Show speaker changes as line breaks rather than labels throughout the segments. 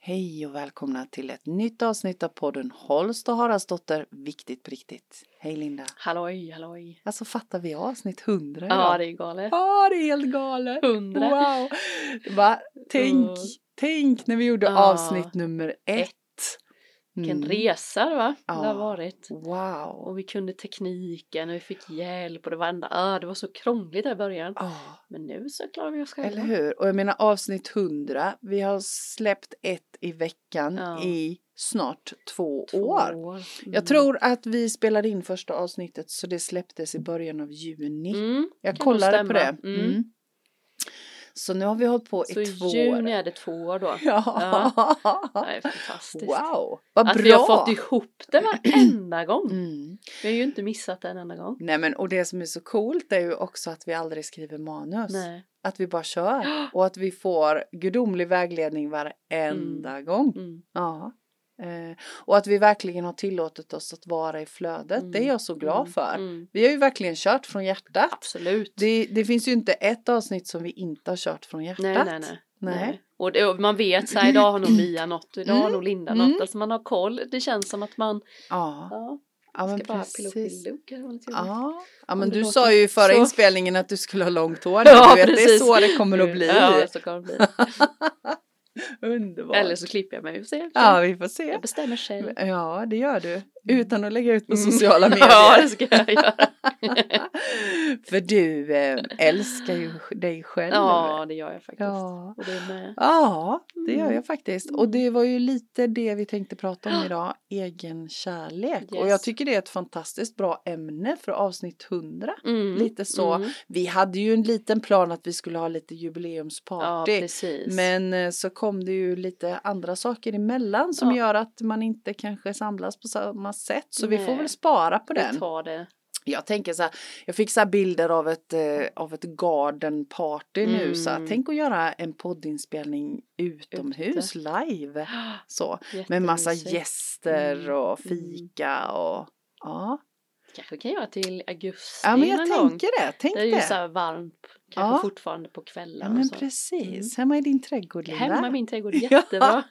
Hej och välkomna till ett nytt avsnitt av podden Holst och Haraldsdotter, viktigt på riktigt. Hej Linda.
Halloj, halloj.
Alltså fattar vi avsnitt 100
Ja, det är galet.
Ja, det är helt galet.
Hundra.
Wow. Bara, tänk,
Mm.
tänk när vi gjorde
Ja.
avsnitt nummer ett.
Vilken
Mm.
resa det var.
Ja.
Det har varit.
Wow.
Och vi kunde tekniken och vi fick hjälp och det var ända, ah, det var så krångligt där i början.
Ja,
Men nu så klarar vi oss själva.
eller hur? Och jag menar avsnitt 100, vi har släppt ett i veckan
Ja.
i snart två,
Två
år.
Mm.
Jag tror att vi spelade in första avsnittet så det släpptes i början av juni.
Mm.
Jag
kan nog
kollade på det.
stämma.
Mm.
Mm.
Så nu har vi hållit på
Så
i
i
två
juni
år.
är det två år då.
Ja.
Det är fantastiskt.
Wow, vad
Att
bra!
vi har fått ihop det varenda gång.
mm.
Vi har ju inte missat det en enda gång.
Nej men och det som är så coolt är ju också att vi aldrig skriver manus.
Nej.
Att vi bara kör och att vi får gudomlig vägledning varenda gång.
Mm.
Ja. Eh, och att vi verkligen har tillåtit oss att vara i flödet,
Mm.
det är jag så glad
Mm.
för.
Mm.
Vi har ju verkligen kört från hjärtat.
Absolut.
Det, det finns ju inte ett avsnitt som vi inte har kört från hjärtat.
Nej, nej, nej.
Nej.
Och det, och man vet så här, idag har nog Mia något, idag har nog Linda
Mm.
något. Alltså man har koll. Det känns som att man
Ja,
ja,
ja men
ska bara pilla upp
precis.
i luckan. eller någonting.
Ja, ja men
Om det
du
låter
sa ju i förra
så.
inspelningen att du skulle ha långt hår.
Ja,
du vet, det är
precis.
så det kommer att bli.
Ja, så kan det bli.
Underbart.
Eller så klipper jag mig och ser.
Ja, vi får se.
Jag bestämmer själv.
Ja, det gör du. Utan att lägga ut på sociala
Mm. Ja, det
medier.
ska jag göra.
För du eh, älskar ju dig själv.
Ja, det gör jag faktiskt.
Ja.
Och det är med.
Ja, det gör
Mm.
jag faktiskt. Och det var ju lite det vi tänkte prata om idag, egen kärlek. Och jag
Yes.
tycker det är ett fantastiskt bra ämne för avsnitt 100.
Mm.
Lite så.
Mm.
Vi hade ju en liten plan att vi skulle ha lite
Ja,
jubileumsparty.
precis.
men eh, så kom det ju lite andra saker emellan som
Ja.
gör att man inte kanske samlas på samma sätt. Så vi får
Nej.
väl spara på
vi
den.
tar det.
Jag tänker så här, jag fick så här bilder av ett, eh, av ett garden party nu så här,
Mm.
tänk att göra en poddinspelning utomhus live. Så, med massa
Jättemysigt.
gäster
Mm.
och fika och ja.
Kanske kan jag göra till augusti
Ja men jag
någon gång.
tänker det, tänk
Det är ju så
det.
här varmt,
Ja.
kanske fortfarande på
Ja
kvällen och
men
så. Mm.
precis, hemma i din trädgård Linda.
Hemma i min trädgård, jättebra.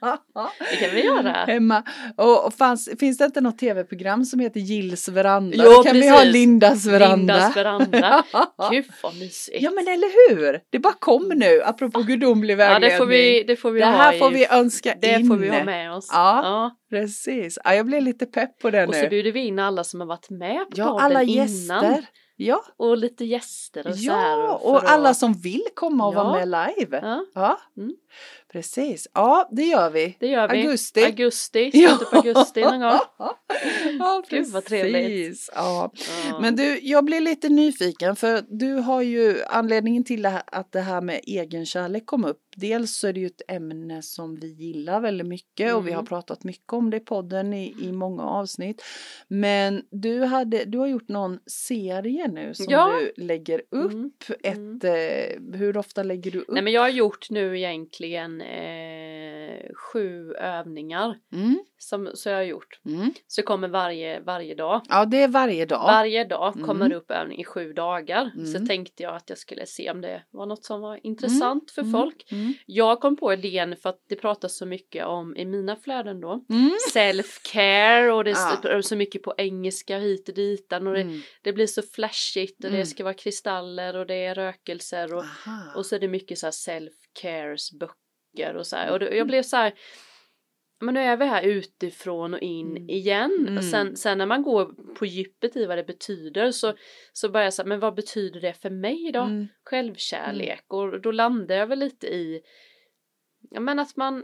Det kan vi göra.
Hemma. Och, och fanns, finns det inte något tv-program som heter Gills veranda?
Jo,
Då kan vi ha
precis.
Lindas veranda.
Lindas veranda.
Ja.
Gud vad mysigt.
Ja men eller hur! Det bara kom nu, apropå gudomlig
Ah. Ja,
vägledning.
det får vi, det får vi
det
ha
här
i-
får vi önska
det
in.
får vi ha med oss.
Ja,
Ja.
Precis, ja, jag blev lite pepp på det
Och så
nu.
bjuder vi in alla som har varit med på
Ja,
podden
alla
innan.
gäster. Ja,
Och lite gäster och så här.
ja
för
och
att-
alla som vill komma och
Ja.
vara med live. Ja,
Ja, Mm.
precis. Ja, det gör vi.
det gör vi.
Augusti.
Augusti, slutet på augusti någon gång.
Ja,
Gud, vad trevligt.
precis. Ja,
Ja.
Men du, jag blir lite nyfiken för du har ju anledningen till det här, att det här med egenkärlek kom upp. Dels så är det ju ett ämne som vi gillar väldigt mycket och vi har
Mm.
pratat mycket om det i podden i, i många avsnitt. Men du, hade, du har gjort någon serie nu som
Ja.
du lägger upp.
Mm.
Ett, eh, hur ofta lägger du upp?
Nej men jag har gjort nu egentligen eh, sju övningar.
mm,
Som, så jag har gjort.
mm.
Så det kommer varje, varje dag.
Ja, det är varje dag.
Varje dag
Mm.
kommer det upp övning i sju dagar.
Mm.
Så tänkte jag att jag skulle se om det var något som var intressant för
Mm.
folk.
Mm.
Jag kom på idén för att det pratas så mycket om, i mina flöden då,
Mm.
self-care och det
Ja.
är så mycket på engelska hit och ditan och det,
Mm.
det blir så flashigt och
Mm.
det ska vara kristaller och det är rökelser och,
Aha.
och så är det mycket så här self-cares böcker och så här. Och då,
Mm.
jag blev så här men nu är vi här utifrån och in
Mm.
igen.
Mm.
Och sen, sen när man går på djupet i vad det betyder så, så börjar jag säga, men vad betyder det för mig då?
Mm.
Självkärlek. Och då landar jag väl lite i, ja men att man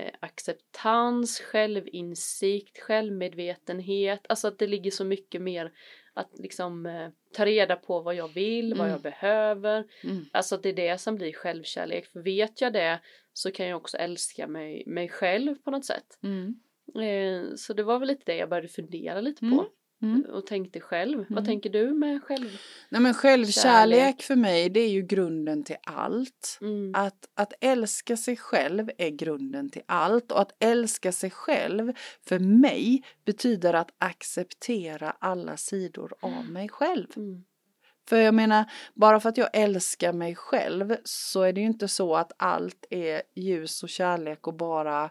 självacceptans, självinsikt, självmedvetenhet, alltså att det ligger så mycket mer att liksom eh, ta reda på vad jag vill, vad
Mm.
jag behöver,
Mm.
Alltså att det är det som blir självkärlek. För vet jag det så kan jag också älska mig, mig själv på något sätt.
Mm.
Eh, så det var väl lite det jag började fundera lite
Mm,
på.
mm.
Och tänkte själv.
Mm.
Vad tänker du med själv?
Nej men självkärlek
Kärlek.
för mig det är ju grunden till allt.
Mm.
Att, att älska sig själv är grunden till allt och att älska sig själv för mig betyder att acceptera alla sidor av mig själv.
Mm.
För jag menar, bara för att jag älskar mig själv så är det ju inte så att allt är ljus och kärlek och bara,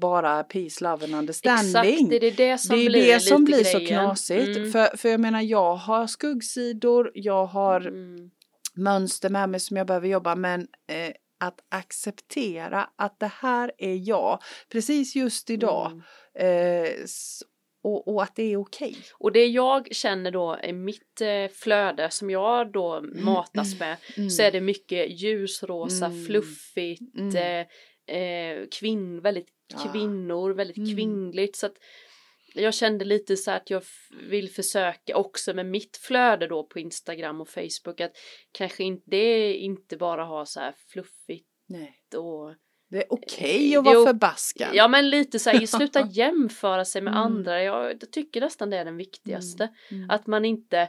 bara peace, love and understanding.
Exakt, det är det, det som
det är
blir
det som
lite
blir så
grejen.
knasigt.
Mm.
För, för jag menar, jag har skuggsidor, jag har
Mm.
mönster med mig som jag behöver jobba men eh, att acceptera att det här är jag precis just idag
Mm.
eh, s- och, och att det är okej.
Och det jag känner då i mitt eh, flöde som jag då matas med så är det mycket ljusrosa,
Mm.
fluffigt,
Mm.
eh, eh, kvinn, väldigt
Ja.
kvinnor, väldigt
Mm.
kvinnligt. Så att jag kände lite så här att jag f- vill försöka också med mitt flöde då på Instagram och Facebook att kanske inte, det inte bara ha så här fluffigt
Nej.
och
Det är okej att
Eh, Det är
vara
o-
förbaskad.
ja men lite så här sluta jämföra sig med
Mm.
andra. Jag, jag tycker nästan det är den viktigaste.
Mm.
Att man inte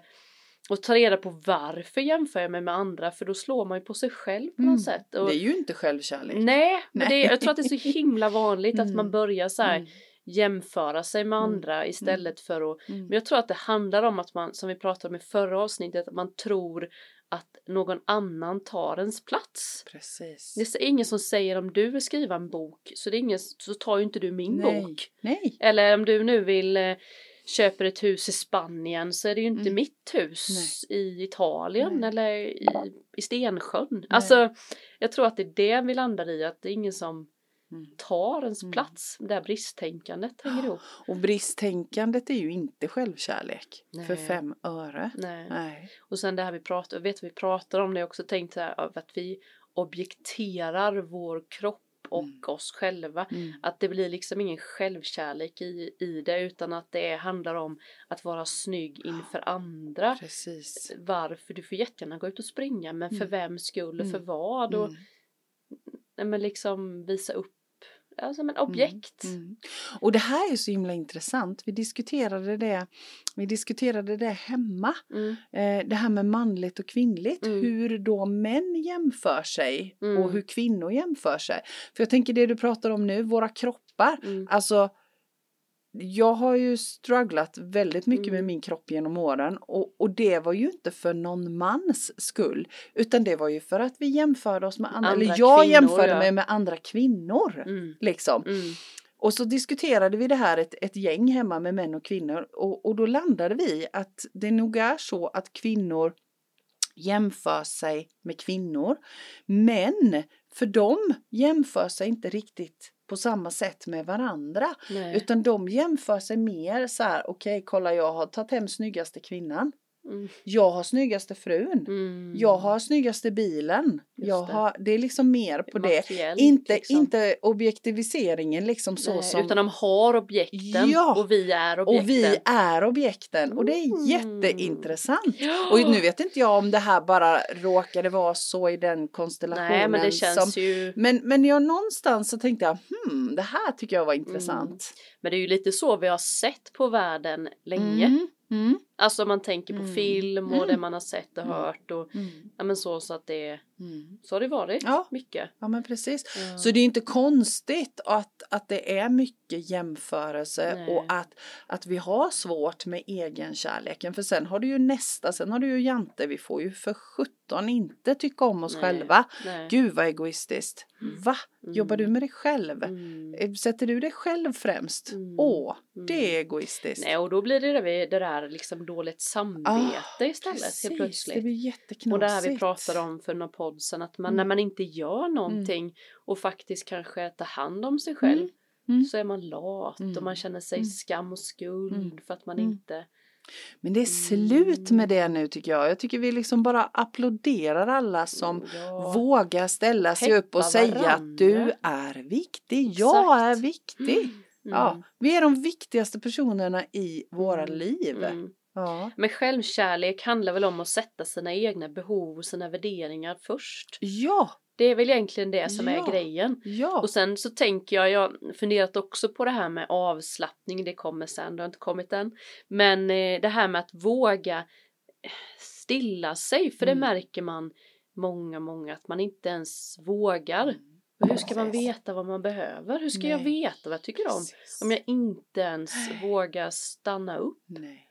och ta reda på varför jämför jag mig med andra för då slår man ju på sig själv på något
Mm.
sätt. Och, Mm,
det är ju inte självkärlek.
nej,
Nej.
men Det, jag tror att det är så himla vanligt att
Mm.
man börjar så här jämföra sig med
Mm.
andra istället för att
Mm.
men jag tror att det handlar om att man, som vi pratade om i förra avsnittet, att man tror att någon annan tar ens plats.
Precis.
Det är ingen som säger om du vill skriva en bok så, det är ingen, så tar ju inte du min
Nej.
bok.
Nej.
Eller om du nu vill eh, köper ett hus i Spanien så är det ju inte
Mm.
mitt hus i Italien
Nej.
eller i, i Stensjön. Alltså, jag tror att det är det vi landar i, att det är ingen som
Mm.
tar ens
Mm.
plats. Det här bristtänkandet hänger ihop.
Och bristtänkandet är ju inte självkärlek.
Nej.
För fem öre.
Nej.
Nej.
Och sen det här vi pratar, vet vi pratar om det också tänkt så här, av att vi objekterar vår kropp och
Mm.
oss själva.
Mm.
Att det blir liksom ingen självkärlek i, i det utan att det handlar om att vara snygg inför andra.
Precis.
varför du får jättegärna gå ut och springa men för
Mm.
vems skull och för
Mm.
vad och
Mm.
nej, men liksom visa upp ja, som en objekt.
Mm. Och det här är så himla intressant. Vi diskuterade det, vi diskuterade det hemma.
Mm.
Eh, det här med manligt och kvinnligt.
Mm.
Hur då män jämför sig
Mm.
och hur kvinnor jämför sig. För jag tänker det du pratar om nu, våra kroppar.
Mm.
Alltså, jag har ju strugglat väldigt mycket med
Mm.
min kropp genom åren och, och det var ju inte för någon mans skull utan det var ju för att vi jämförde oss med andra,
Andra
eller jag
kvinnor,
jämförde
ja.
mig med andra kvinnor.
Mm.
Liksom.
Mm.
Och så diskuterade vi det här ett, ett gäng hemma med män och kvinnor och, och då landade vi att det nog är så att kvinnor jämför sig med kvinnor. Men för dem jämför sig inte riktigt på samma sätt med varandra.
Nej.
Utan de jämför sig mer så här, okej kolla jag har tagit hem snyggaste kvinnan.
Mm.
Jag har snyggaste frun.
Mm.
Jag har snyggaste bilen.
Just
jag
det.
Har, det är liksom mer på det.
Materiellt,
Inte,
liksom.
inte objektiviseringen liksom så
Nej,
som
Utan de har objekten
Ja.
och vi är objekten.
och vi är objekten och det är
Mm.
jätteintressant.
Ja.
Och nu vet inte jag om det här bara råkade vara så i den konstellationen.
Nej men det känns
som,
ju.
men, men jag någonstans så tänkte jag, hmm, det här tycker jag var intressant.
Men det är ju lite så vi har sett på världen länge.
Mm, mm,
Alltså man tänker på
Mm.
film och
Mm.
det man har sett och
Mm.
hört och
mm,
ja, men så, så att det
mm.
så har det varit
Ja.
mycket.
Ja men precis.
Ja.
Så det är inte konstigt att, att det är mycket jämförelse
Nej.
och att, att vi har svårt med egenkärleken. För sen har du ju nästa, sen har du ju Jante, vi får ju för sjutton inte tycka om oss
Nej.
själva.
Nej.
Gud vad egoistiskt.
Mm.
Va? Jobbar du med dig själv?
Mm.
Eh, Sätter du dig själv främst?
Mm.
Åh,
Mm.
det är egoistiskt.
Nej, och då blir det det, det där liksom dåligt samvete istället helt
Ah, det
plötsligt.
blir jätteknasigt.
Och det här vi pratade om för några podd sedan, att man,
Mm.
när man inte gör någonting och faktiskt kanske tar hand om sig själv
Mm. Mm.
så är man lat
Mm.
och man känner sig
Mm.
skam och skuld
Mm.
för att man
Mm.
inte...
Men det är slut
Mm.
med det nu tycker jag. Jag tycker vi liksom bara applåderar alla som
Ja.
vågar ställa sig
Peppa
upp och säga att du
varandra.
är viktig. Jag är
Exakt. Mm.
viktig. Ja, vi är de viktigaste personerna i våra
Mm.
liv.
Mm.
Ja.
Men självkärlek handlar väl om att sätta sina egna behov och sina värderingar först.
ja,
Det är väl egentligen det som
Ja.
är grejen.
ja.
Och sen så tänker jag, jag har funderat också på det här med avslappning, det kommer sen, det har inte kommit än. Men eh, det här med att våga eh, stilla sig, för
Mm.
det märker man många, många att man inte ens vågar.
Mm.
Och hur ska man
Precis.
veta vad man behöver? Hur ska jag
Nej.
veta vad jag tycker om?
Precis.
Om jag inte ens
Nej.
vågar stanna upp.
Nej.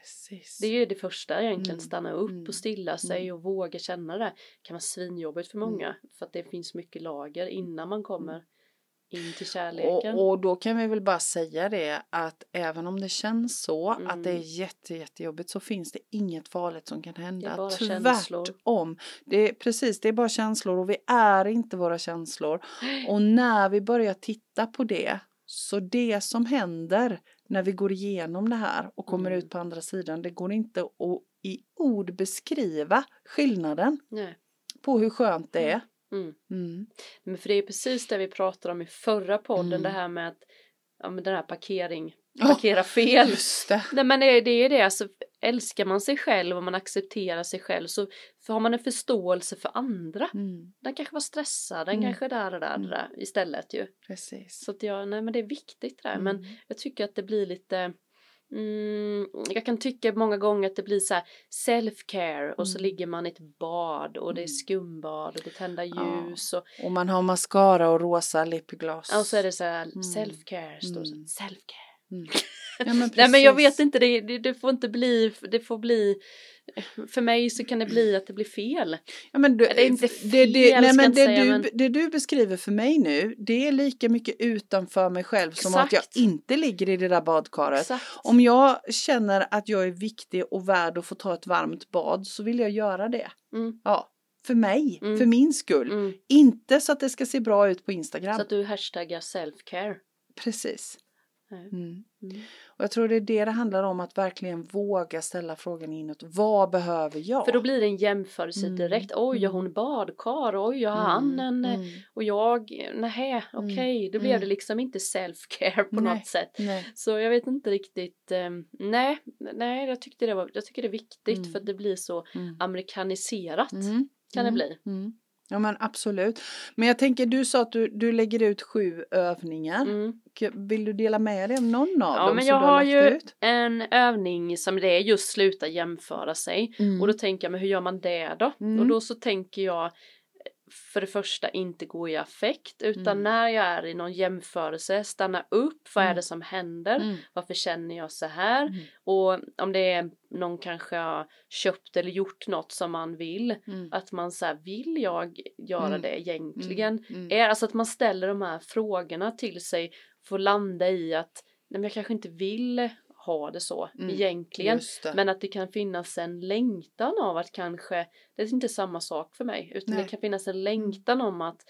Precis.
Det är ju det första egentligen,
Mm.
stanna upp
Mm. Mm.
och stilla sig och våga känna det. kan vara svinjobbigt för många för att det finns mycket lager innan man kommer in till kärleken.
Och, och då kan vi väl bara säga det att även om det känns så
Mm.
att det är jätte, jättejobbigt så finns det inget farligt som kan hända.
Det är bara känslor.
Tvärtom. Det är, precis, det är bara känslor och vi är inte våra känslor. Och när vi börjar titta på det så det som händer när vi går igenom det här och kommer
Mm.
ut på andra sidan det går inte att i ord beskriva skillnaden
Nej.
på hur skönt det är.
Mm.
Mm.
Men för det är precis det vi pratade om i förra podden,
Mm.
det här med att ja, men den här parkering,
Ja,
parkera fel.
Just det.
Nej men det är det, är det. Alltså, älskar man sig själv och man accepterar sig själv så så har man en förståelse för andra.
Mm.
Den kanske var stressad, den
Mm.
kanske där och där, och
Mm.
där istället ju.
Precis.
Så att jag, nej men det är viktigt det här. Men
Mm.
jag tycker att det blir lite Mm, jag kan tycka många gånger att det blir så här self-care och så
Mm.
ligger man i ett bad och det är
Mm. skumbad
skumbad och det är tända
Ja.
ljus och,
Och man har mascara och rosa lipgloss.
och så är det så här self-care, står det så
Mm.
här, self-care.
Mm. Ja, men
Nej men jag
precis.
vet inte, det, det, det får inte bli, det får bli, för mig så kan det bli att det blir fel.
Ja, men du,
Det är inte
det,
fel,
det,
ska
nej,
jag
men
inte
det,
säga,
du,
men-
det du beskriver för mig nu, det är lika mycket utanför mig själv som att jag
Exakt.
inte ligger i det där badkaret.
Exakt.
Om jag känner att jag är viktig och värd att få ta ett varmt bad så vill jag göra det.
Mm.
Ja, för mig,
Mm.
för min skull.
Mm.
Inte så att det ska se bra ut på Instagram.
Så att du hashtaggar self-care.
Precis.
Nej.
Mm.
Mm.
Och jag tror det är det det handlar om, att verkligen våga ställa frågan inåt. Vad behöver jag?
För då blir det en jämförelse
Mm.
direkt. Oj, har hon badkar? Oj, har han en... eh,
Mm.
Och jag, nej, okej, då blev
Mm.
det liksom inte self-care på
Nej.
något sätt.
Nej.
Så jag vet inte riktigt, ehm, nej, nej, jag tyckte det var, jag tycker det är viktigt
Mm.
för att det blir så amerikaniserat
Mm. Mm.
kan det bli.
Mm. Ja men absolut. Men jag tänker, du sa att du, du lägger ut sju övningar.
Mm.
K- Vill du dela med dig av någon av
Ja,
dem
men
som
jag
du har,
har
lagt
ju-
ut?
En övning som det är just sluta jämföra sig.
Mm.
Och då tänker jag, men hur gör man det då?
Mm.
Och då så tänker jag för det första inte gå i affekt utan
Mm.
när jag är i någon jämförelse stanna upp, vad är
Mm.
det som händer?
Mm.
Varför känner jag så här?
Mm.
Och om det är någon kanske har köpt eller gjort något som man vill,
Mm.
att man så här, vill jag göra
Mm.
det egentligen?
Mm.
Är, alltså att man ställer de här frågorna till sig, får landa i att nej men jag kanske inte vill ha det så
Mm.
egentligen.
Just det.
Men att det kan finnas en längtan av att kanske, det är inte samma sak för mig, utan
Nej.
det kan finnas en längtan om att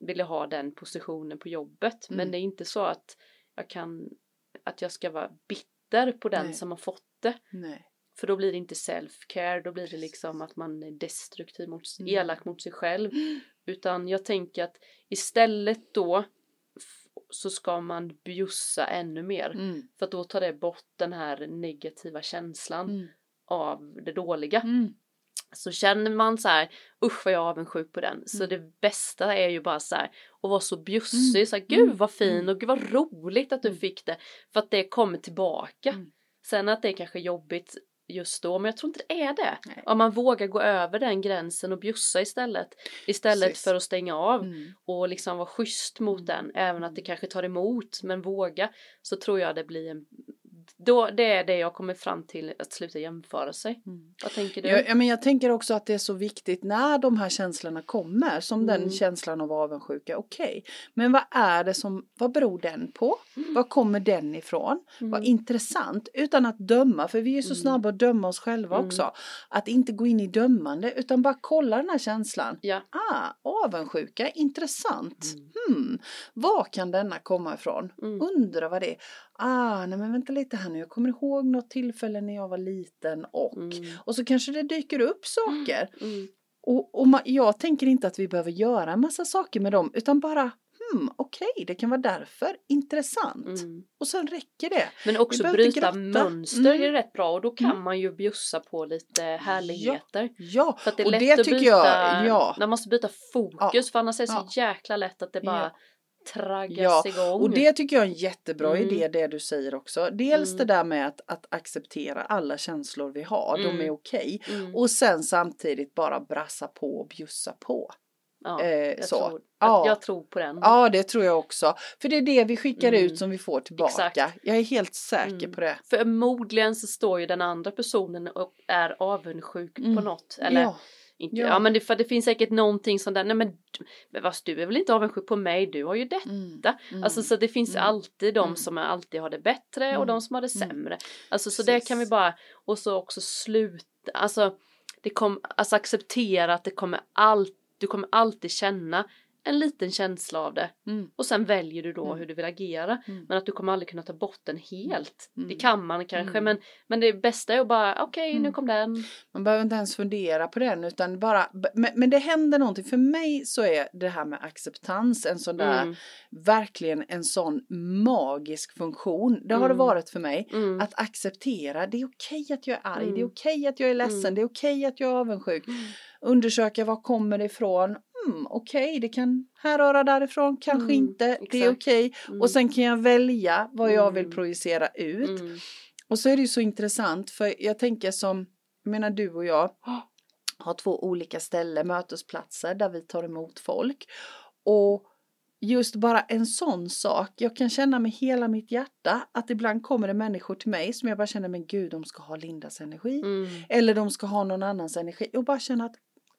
vilja ha den positionen på jobbet.
Mm.
Men det är inte så att jag kan, att jag ska vara bitter på den
Nej.
som har fått det.
Nej.
För då blir det inte self-care, då blir det
Precis.
liksom att man är destruktiv mot,
Mm.
elak mot sig själv. Utan jag tänker att istället då f- så ska man bjussa ännu mer.
Mm.
För att då tar det bort den här negativa känslan
Mm.
av det dåliga.
Mm.
Så känner man så här, usch vad jag är avundsjuk på den. Så
Mm.
det bästa är ju bara så här, att vara så bjussig,
Mm.
så här,
Mm.
gud vad fin och gud vad roligt att du
Mm.
fick det. För att det kommer tillbaka.
Mm.
Sen att det är kanske är jobbigt just då, men jag tror inte det är det.
Nej.
Om man vågar gå över den gränsen och bjussa istället. Istället
Precis.
för att stänga av
Mm.
och liksom vara schysst mot
Mm.
den. Även att det kanske tar emot, men våga. Så tror jag det blir en... Då, det är det jag kommer fram till, att sluta jämföra sig.
Mm.
Vad tänker du?
Ja, ja, men jag tänker också att det är så viktigt när de här känslorna kommer, som
Mm.
den känslan av avundsjuka, okej, men vad är det som, vad beror den på?
Mm.
Var kommer den ifrån? Vad intressant, utan att döma, för vi är ju så
Mm.
snabba att döma oss själva
Mm.
också. Att inte gå in i dömande, utan bara kolla den här känslan.
Ja.
Ah, avundsjuka, intressant.
Mm.
Hmm. Var kan denna komma ifrån?
Mm.
Undrar vad det är. Ah, nej men vänta lite här nu, jag kommer ihåg något tillfälle när jag var liten och
Mm.
Och så kanske det dyker upp saker.
Mm.
Och, och ma- jag tänker inte att vi behöver göra en massa saker med dem utan bara hmm, okej, det kan vara därför, intressant.
Mm.
Och sen räcker det.
Men också
behöver inte
bryta
grotta.
mönster
Mm.
är rätt bra och då kan
Mm.
man ju bjussa på lite härligheter.
Ja,
För att det är
Och
lätt
det
att
tycker
byta,
jag, ja.
man måste byta fokus
Ja.
för annars är det så jäkla lätt att det bara traggas
Ja,
igång.
Och det tycker jag är en jättebra
Oh, Mm.
idé det du säger också. Dels
Mm.
det där med att, att acceptera alla känslor vi har,
Mm.
de är okej.
mm.
Och sen samtidigt bara brassa på och bjussa på.
Ja,
Eh,
jag,
så.
Tror,
Ja.
jag, jag tror på den.
Ja, det tror jag också. För det är det vi skickar
Mm.
ut som vi får tillbaka.
Exakt.
Jag är helt säker
Mm.
på det.
Förmodligen så står ju den andra personen och är avundsjuk
Mm.
på något. Eller
Ja.
inte.
ja.
Ja. men det, för det finns säkert någonting som den, nej men, du- men fast du är väl inte avundsjuk på mig, du har ju det.
Mm.
Alltså
Mm.
så det finns
Mm.
alltid de
Mm.
som alltid har det bättre och
Mm.
de som har det
Mm.
sämre. Alltså så det
Precis.
kan vi bara, och så också sluta, alltså, det kom, alltså acceptera att det kommer allt, du kommer alltid känna en liten känsla av det
Mm.
och sen väljer du då
Mm.
hur du vill agera.
Mm.
Men att du kommer aldrig kunna ta bort den helt.
Mm.
Det kan man kanske
Mm.
men, men det bästa är att bara okej nu
Mm.
kom den.
Man behöver inte ens fundera på den utan bara, b- men, men det händer någonting. För mig så är det här med acceptans en sån där,
Mm.
verkligen en sån magisk funktion. Det har
Mm.
det varit för mig.
Mm.
Att acceptera, det är okej att jag är arg, det är
Mm.
okej att jag är ledsen,
Mm.
det är okej att jag är avundsjuk. Undersöka var kommer det ifrån? Mm, okej, det kan härröra därifrån, kanske
Mm,
inte, det är
exakt.
okej.
Mm.
Och sen kan jag välja vad jag vill
Mm.
projicera ut.
mm.
Och så är det ju så intressant för jag tänker som, jag menar du och jag har två olika ställen, mötesplatser där vi tar emot folk. Och just bara en sån sak, jag kan känna med hela mitt hjärta att ibland kommer det människor till mig som jag bara känner, men gud de ska ha Lindas energi.
Mm.
Eller de ska ha någon annans energi och bara känna att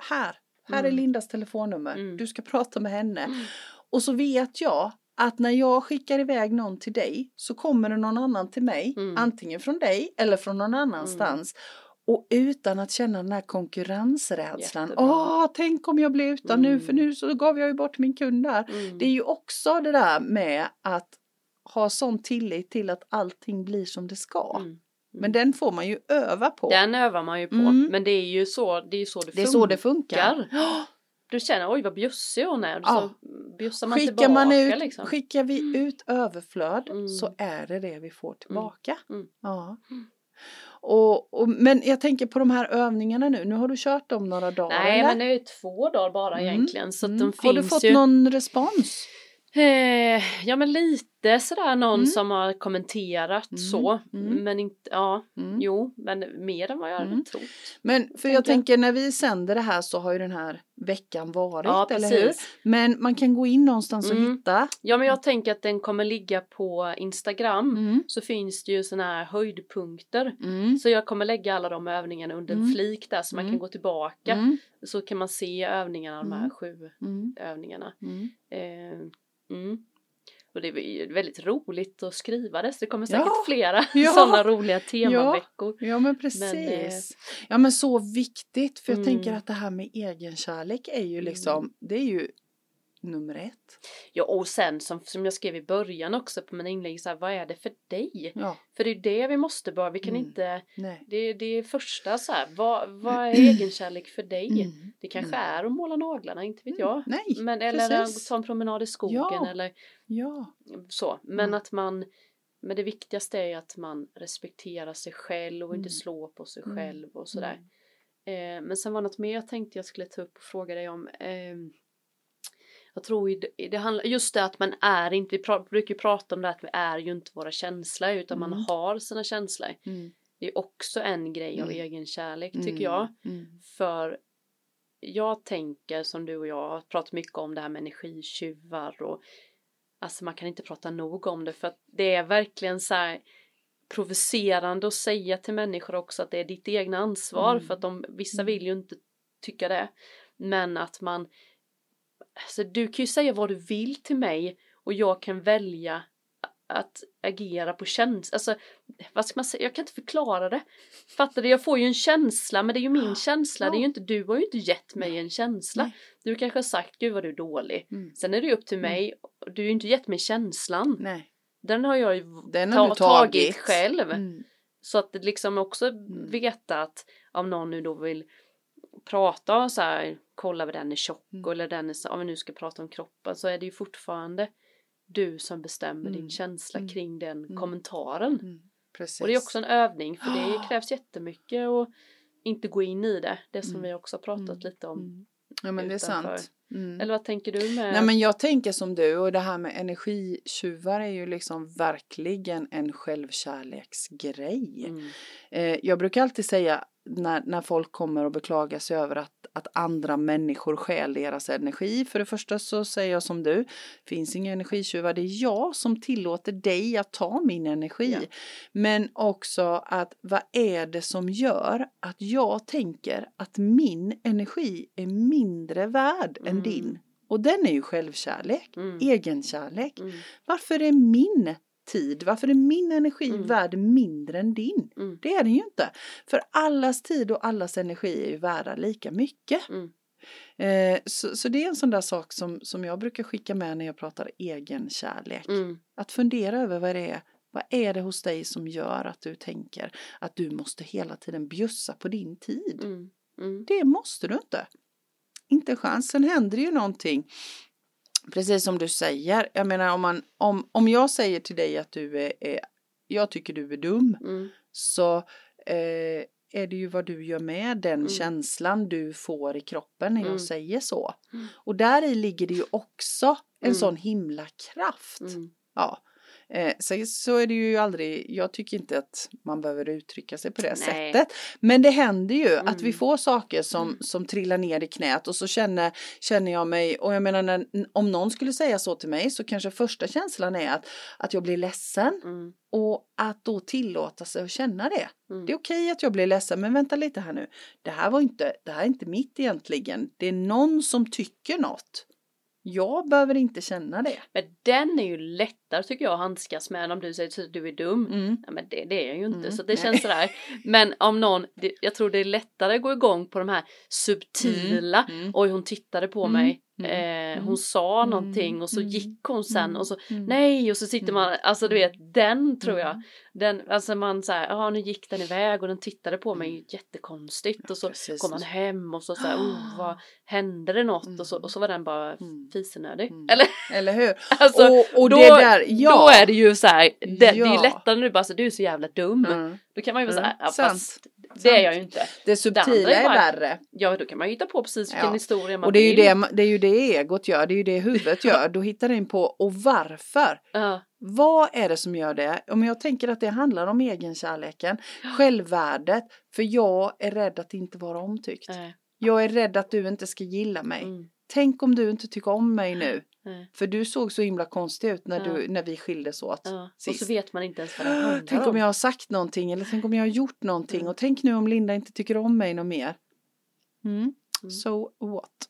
här, här är
Mm.
Lindas telefonnummer,
Mm.
du ska prata med henne.
Mm.
Och så vet jag att när jag skickar iväg någon till dig så kommer det någon annan till mig,
Mm.
antingen från dig eller från någon annanstans. Och utan att känna den här konkurrensrädslan.
Jättebra.
Åh, tänk om jag blir utan nu
Mm.
för nu så gav jag ju bort min kund där.
Mm.
Det är ju också det där med att ha sån tillit till att allting blir som det ska.
Mm.
Men den får man ju öva på.
Den övar man ju på.
Mm.
Men det är ju så det, är ju så det,
det är
funkar.
så det funkar.
Du känner oj vad bjussig hon är. Och
Ja.
Så bjussar man
Skickar,
tillbaka
man ut,
liksom.
skickar vi ut överflöd
Mm.
så är det det vi får tillbaka.
Mm.
Ja.
Mm.
Och, och, men jag tänker på de här övningarna nu. Nu har du kört dem några dagar.
Nej
eller?
men det är ju två dagar bara
Mm.
egentligen. Så att de
Mm.
finns
Har du fått
ju.
någon respons?
Eh, ja men lite sådär någon
Mm.
som har kommenterat
Mm.
så.
Mm.
Men inte, ja
Mm.
jo men mer än vad jag hade
Mm.
trott.
Men för jag tänker när vi sänder det här så har ju den här veckan varit,
Ja
eller hur?
precis.
Men man kan gå in någonstans och
Mm.
hitta.
Ja men jag tänker att den kommer ligga på Instagram.
Mm.
Så finns det ju sådana här höjdpunkter.
Mm.
Så jag kommer lägga alla de övningarna under en
Mm.
flik där så man
Mm.
kan gå tillbaka.
Mm.
Så kan man se övningarna, de här
Mm.
sju
Mm.
övningarna.
Mm.
Eh, mm. Och det är ju väldigt roligt att skriva det så det kommer säkert
Ja.
flera
Ja.
sådana roliga temaveckor.
Ja men
Men, eh,
precis. ja men så viktigt för jag
Mm.
tänker att det här med egenkärlek är ju
Mm.
liksom, det är ju nummer ett.
Ja, och sen som, som jag skrev i början också på mina inlägg, så här, vad är det för dig?
Ja,
För det är ju det vi måste bara, vi kan
Mm.
inte,
nej.
det, det är första så här, vad, vad är egenkärlek för dig?
Mm.
Det kanske
Mm.
är att måla naglarna, inte E- vet jag. Mm.
Nej,
Men, eller att
precis.
ta en promenad i skogen
Ja.
eller
Ja.
så. Men
Mm.
att man men det viktigaste är ju att man respekterar sig själv och inte
Mm.
slår på sig
Mm.
själv och sådär. Eh, men sen var det något mer jag tänkte jag skulle ta upp och fråga dig om. Ehm, jag tror ju det, det handlar just det att man är inte, vi pra, brukar ju prata om det att vi är ju inte våra känslor utan man
Mm.
har sina känslor.
Mm.
Det är också en grej av
Mm.
egen kärlek
Mm.
tycker jag.
Mm.
För jag tänker som du och jag har pratat mycket om det här med energitjuvar och alltså man kan inte prata nog om det för att det är verkligen så här provocerande att säga till människor också att det är ditt egna ansvar
Mm.
för att de, vissa
Mm.
vill ju inte tycka det men att man alltså du kan ju säga vad du vill till mig och jag kan välja att agera på känsla, alltså vad ska man säga, jag kan inte förklara det. Fattar du? Jag får ju en känsla men det är ju min känsla, det är ju inte, du har ju inte gett mig en känsla.
Nej.
Du kanske har sagt gud vad du är dålig.
Mm.
Sen är det ju upp till
Mm.
mig, du har ju inte gett mig känslan.
Nej.
Den har jag ju
Den
ta-
har du tagit.
själv.
Mm.
Så att det liksom också veta att om någon nu då vill prata och så här, kolla vad den är tjock
Mm.
eller den är så, om vi nu ska prata om kroppen så är det ju fortfarande du som bestämmer
Mm.
din känsla
Mm.
kring den
Mm.
kommentaren.
Mm. Precis.
Och det är också en övning för det
Ah.
krävs jättemycket och inte gå in i det, det som
Mm.
vi också har pratat
Mm.
lite om.
Mm. Ja men det är
utanför.
sant. Mm.
Eller vad tänker du med?
Nej men jag tänker som du och det här med energitjuvar är ju liksom verkligen en självkärleksgrej.
mm.
Eh, jag brukar alltid säga när, när folk kommer och beklagar sig över att, att andra människor stjäl deras energi. För det första så säger jag som du, finns inga energitjuvar, det är jag som tillåter dig att ta min energi.
Ja.
Men också att vad är det som gör att jag tänker att min energi är mindre värd
Mm.
än din? Och den är ju självkärlek,
Mm.
egenkärlek.
Mm.
Varför är min tid, varför är min energi
Mm.
värd mindre än din?
Mm.
Det är den ju inte. För allas tid och allas energi är ju värda lika mycket.
Mm.
Eh, så, så det är en sån där sak som, som jag brukar skicka med när jag pratar egenkärlek.
Mm.
Att fundera över vad det är. Vad är det hos dig som gör att du tänker att du måste hela tiden bjussa på din tid?
Mm. Mm.
Det måste du inte. Inte en chans. Sen händer ju någonting. Precis som du säger. Jag menar om, man, om, om jag säger till dig att du är, är jag tycker du är dum.
Mm.
Så eh, är det ju vad du gör med den
Mm.
känslan du får i kroppen när jag
Mm.
säger så.
Mm.
Och där i ligger det ju också en
Mm.
sån himla kraft.
Mm.
Ja. Eh, så, så är det ju aldrig, jag tycker inte att man behöver uttrycka sig på det
Nej.
sättet. Men det händer ju att
Mm.
vi får saker som,
Mm.
som trillar ner i knät och så känner, känner jag mig, och jag menar när, om någon skulle säga så till mig så kanske första känslan är att, att jag blir ledsen
Mm.
och att då tillåta sig att känna det.
Mm.
Det är okej att jag blir ledsen men vänta lite här nu. Det här var inte, det här är inte mitt egentligen. Det är någon som tycker något. Jag behöver inte känna det.
Men den är ju lättare tycker jag att handskas med än om du säger att du är dum.
Mm.
Ja, men det, det är jag ju inte
Mm,
så att det
nej.
känns sådär. Men om någon, det, jag tror det är lättare att gå igång på de här subtila.
Mm.
Oj hon tittade på
Mm,
mig.
mm,
Eh,
mm,
hon sa
mm,
någonting och så
mm,
gick hon sen
mm,
och så
mm.
nej och så sitter
Mm.
man, alltså du vet den tror jag.
Mm.
Den, alltså man såhär, ja nu gick den iväg och den tittade på mig jättekonstigt och så
Mm. Precis. Ah.
kom man hem och så såhär, oh, vad hände det något och, så, och så var den bara
Mm.
fisenödig.
Mm.
Eller
Eller hur?
alltså
och och
då-
det där, ja.
då är det ju så här, det, det är ju
Ja.
lättare när du bara så du är så jävla dum.
Mm.
Då kan man ju vara så här,
Mm,
ja,
sant.
fast det är jag ju inte.
Det
andra
subtila
är
är
bara-
värre.
Ja, då kan man ju hitta på precis vilken
Ja.
historia man
Och det är, ju
vill.
det, ma- det är ju det egot gör, det är ju det huvudet gör. Då hittar den på, och varför?
Ja,
Vad är det som gör det? Om jag tänker att det handlar om egenkärleken, självvärdet, för jag är rädd att inte vara omtyckt.
nej,
Jag är rädd att du inte ska gilla mig.
mm,
Tänk om du inte tycker om mig nu,
nej,
för du såg så himla konstig ut när,
Ja.
du, när vi skildes åt.
ja. Och
Sist.
så vet man inte ens vad det handlar
Ah, Tänk om
om.
jag har sagt någonting eller tänk om jag har gjort någonting
Mm.
och tänk nu om Linda inte tycker om mig något mer.
Mm.
So what?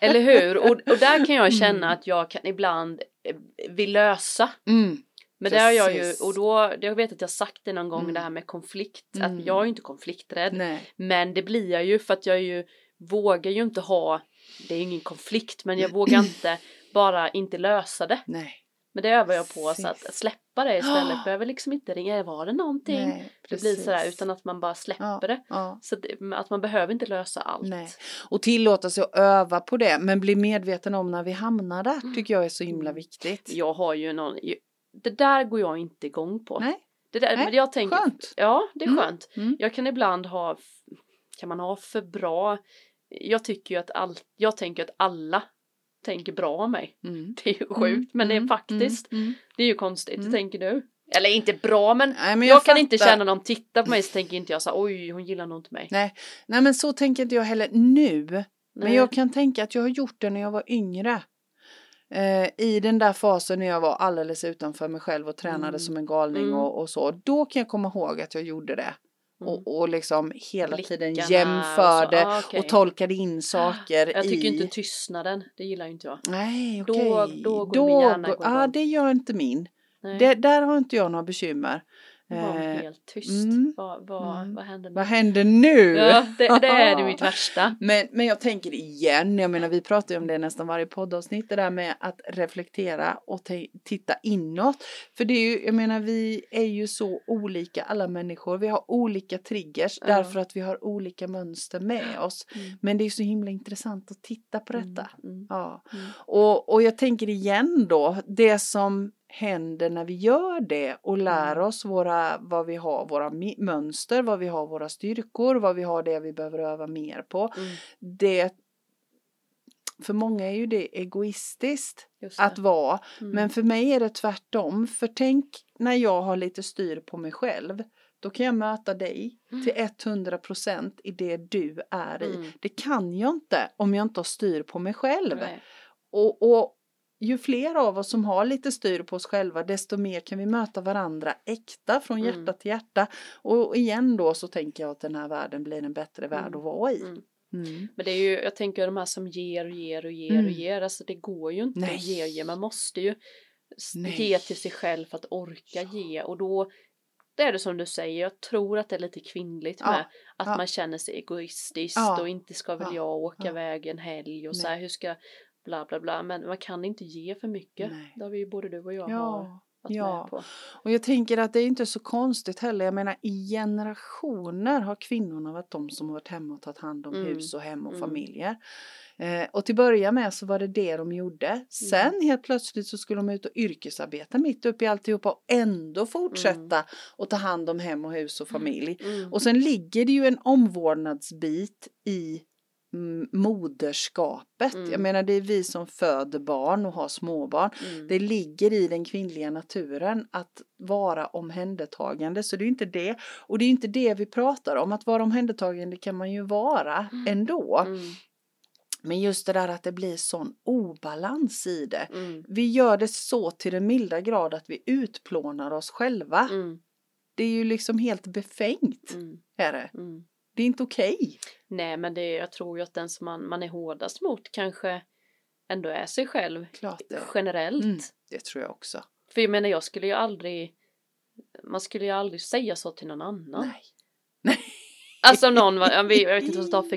Eller hur? Och, och där kan jag känna
Mm.
att jag kan ibland eh, vill lösa.
Mm.
Men det har jag ju,
Precis.
och då, jag vet att jag sagt det någon gång
Mm.
det här med konflikt,
Mm.
att jag är ju inte konflikträdd.
Nej.
Men det blir jag ju för att jag är ju vågar ju inte ha, det är ingen konflikt, men jag vågar inte bara inte lösa det.
Nej.
Men det övar jag på så att
Precis.
släppa det istället.
Ja.
För jag vill liksom inte ringa, var det någonting?
Nej.
det blir sådär
precis.
utan att man bara släpper
Ja.
det.
Ja.
Så att, det- att man behöver inte lösa allt.
Nej. Och tillåta sig att öva på det men bli medveten om när vi hamnar där tycker jag är så himla
Mm.
viktigt.
Jag har ju någon, ju- det där går jag inte igång på.
Nej,
det där,
nej,
men jag tänker,
skönt.
Ja, det är
Mm.
skönt.
Mm.
Jag kan ibland ha, kan man ha för bra, jag tycker ju att all, jag tänker att alla tänker bra om mig.
Mm.
Det är ju sjukt, men det är
Mm,
faktiskt,
Mm. Mm.
det är ju konstigt,
Mm.
hur tänker du? Eller inte bra, men
Nej, men
jag, kan inte
fattar.
känna när de tittar på mig så tänker inte jag så här, oj, hon gillar nog inte mig.
Nej men så tänker inte jag heller nu. Men
Nej.
jag kan tänka att jag har gjort det när jag var yngre. Eh, I den där fasen när jag var alldeles utanför mig själv och tränade
Mm.
som en galning
Mm.
och, och så. Då kan jag komma ihåg att jag gjorde det.
Mm.
Och, och liksom hela tiden
Blickarna och så,
jämförde och,
ah, okej.
tolkade in saker
Jag tycker
i...
inte tystnaden, det gillar ju inte jag.
Nej,
Då-
okej.
då går min hjärna
går-
igång.
Ja, det gör inte min.
Nej,
Det, där har inte jag några bekymmer.
var
Eh,
helt tyst.
mm,
vad, vad,
mm.
vad händer nu?
vad händer nu?
Ja, det, det är det mitt värsta.
Men, men jag tänker igen, jag menar vi pratar ju om det nästan varje poddavsnitt, det där med att reflektera och te- titta inåt. För det är ju, jag menar vi är ju så olika alla människor, vi har olika triggers
Ja.
därför att vi har olika mönster med oss.
Mm.
Men det är ju så himla intressant att titta på detta.
Mm.
Ja.
Mm.
Och, och jag tänker igen då, det som händer när vi gör det och lär
Mm.
oss våra, vad vi har, våra mi- mönster, vad vi har våra styrkor, vad vi har det vi behöver öva mer på.
Mm.
Det, för många är ju det egoistiskt
Just det.
att vara,
Mm.
men för mig är det tvärtom. För tänk när jag har lite styr på mig själv, Då kan jag möta dig
Mm.
till 100% i det du är i.
Mm.
Det kan jag inte om jag inte har styr på mig själv.
Nej.
Och, och ju fler av oss som har lite styr på oss själva desto mer kan vi möta varandra äkta från
Mm.
hjärta till hjärta. Och igen då så tänker jag att den här världen blir en bättre värld
Mm.
att vara i.
Mm.
Mm.
Men det är ju, jag tänker de här som ger och ger och ger
Mm.
och ger, alltså det går ju inte
Nej.
att ge och ge, man måste ju s-
Nej.
ge till sig själv för att orka ge och då det är det som du säger, jag tror att det är lite kvinnligt
Ja,
med att
ja.
man känner sig egoistisk
Ja,
och inte ska väl
ja,
jag åka
ja.
iväg en helg och
Nej.
så här, hur ska bla bla bla, men man kan inte ge för mycket.
Nej.
Det har vi ju både du och jag har
Ja.
varit
ja.
med på.
Och jag tänker att det är inte så konstigt heller. Jag menar i generationer har kvinnorna varit de som har varit hemma och tagit hand om
Mm.
hus och hem och
Mm.
familjer. Eh, och till börja med så var det det de gjorde. Sen
Mm.
helt plötsligt så skulle de ut och yrkesarbeta mitt uppe i alltihopa och ändå fortsätta och ta hand om hem och hus och familj.
Mm.
Och sen ligger det ju en omvårdnadsbit i mm, moderskapet.
Mm.
Jag menar det är vi som föder barn och har småbarn.
Mm.
Det ligger i den kvinnliga naturen att vara omhändertagande. Så det är ju inte det. Och det är ju inte det vi pratar om. Att vara omhändertagande kan man ju vara
Mm.
ändå.
Mm.
Men just det där att det blir sån obalans i det.
Mm.
Vi gör det så till den milda grad att vi utplånar oss själva.
Mm.
Det är ju liksom helt befängt.
Mm.
Är det.
Mm.
det är inte okej.
Nej, men det, jag tror ju att den som man, man är hårdast mot kanske ändå är sig själv
Klart det.
generellt.
Mm. Det tror jag också.
För jag menar, jag skulle ju aldrig, man skulle ju aldrig säga så till någon annan.
Nej.
Alltså om någon, var- jag vet jag vet inte vad jag ska ta för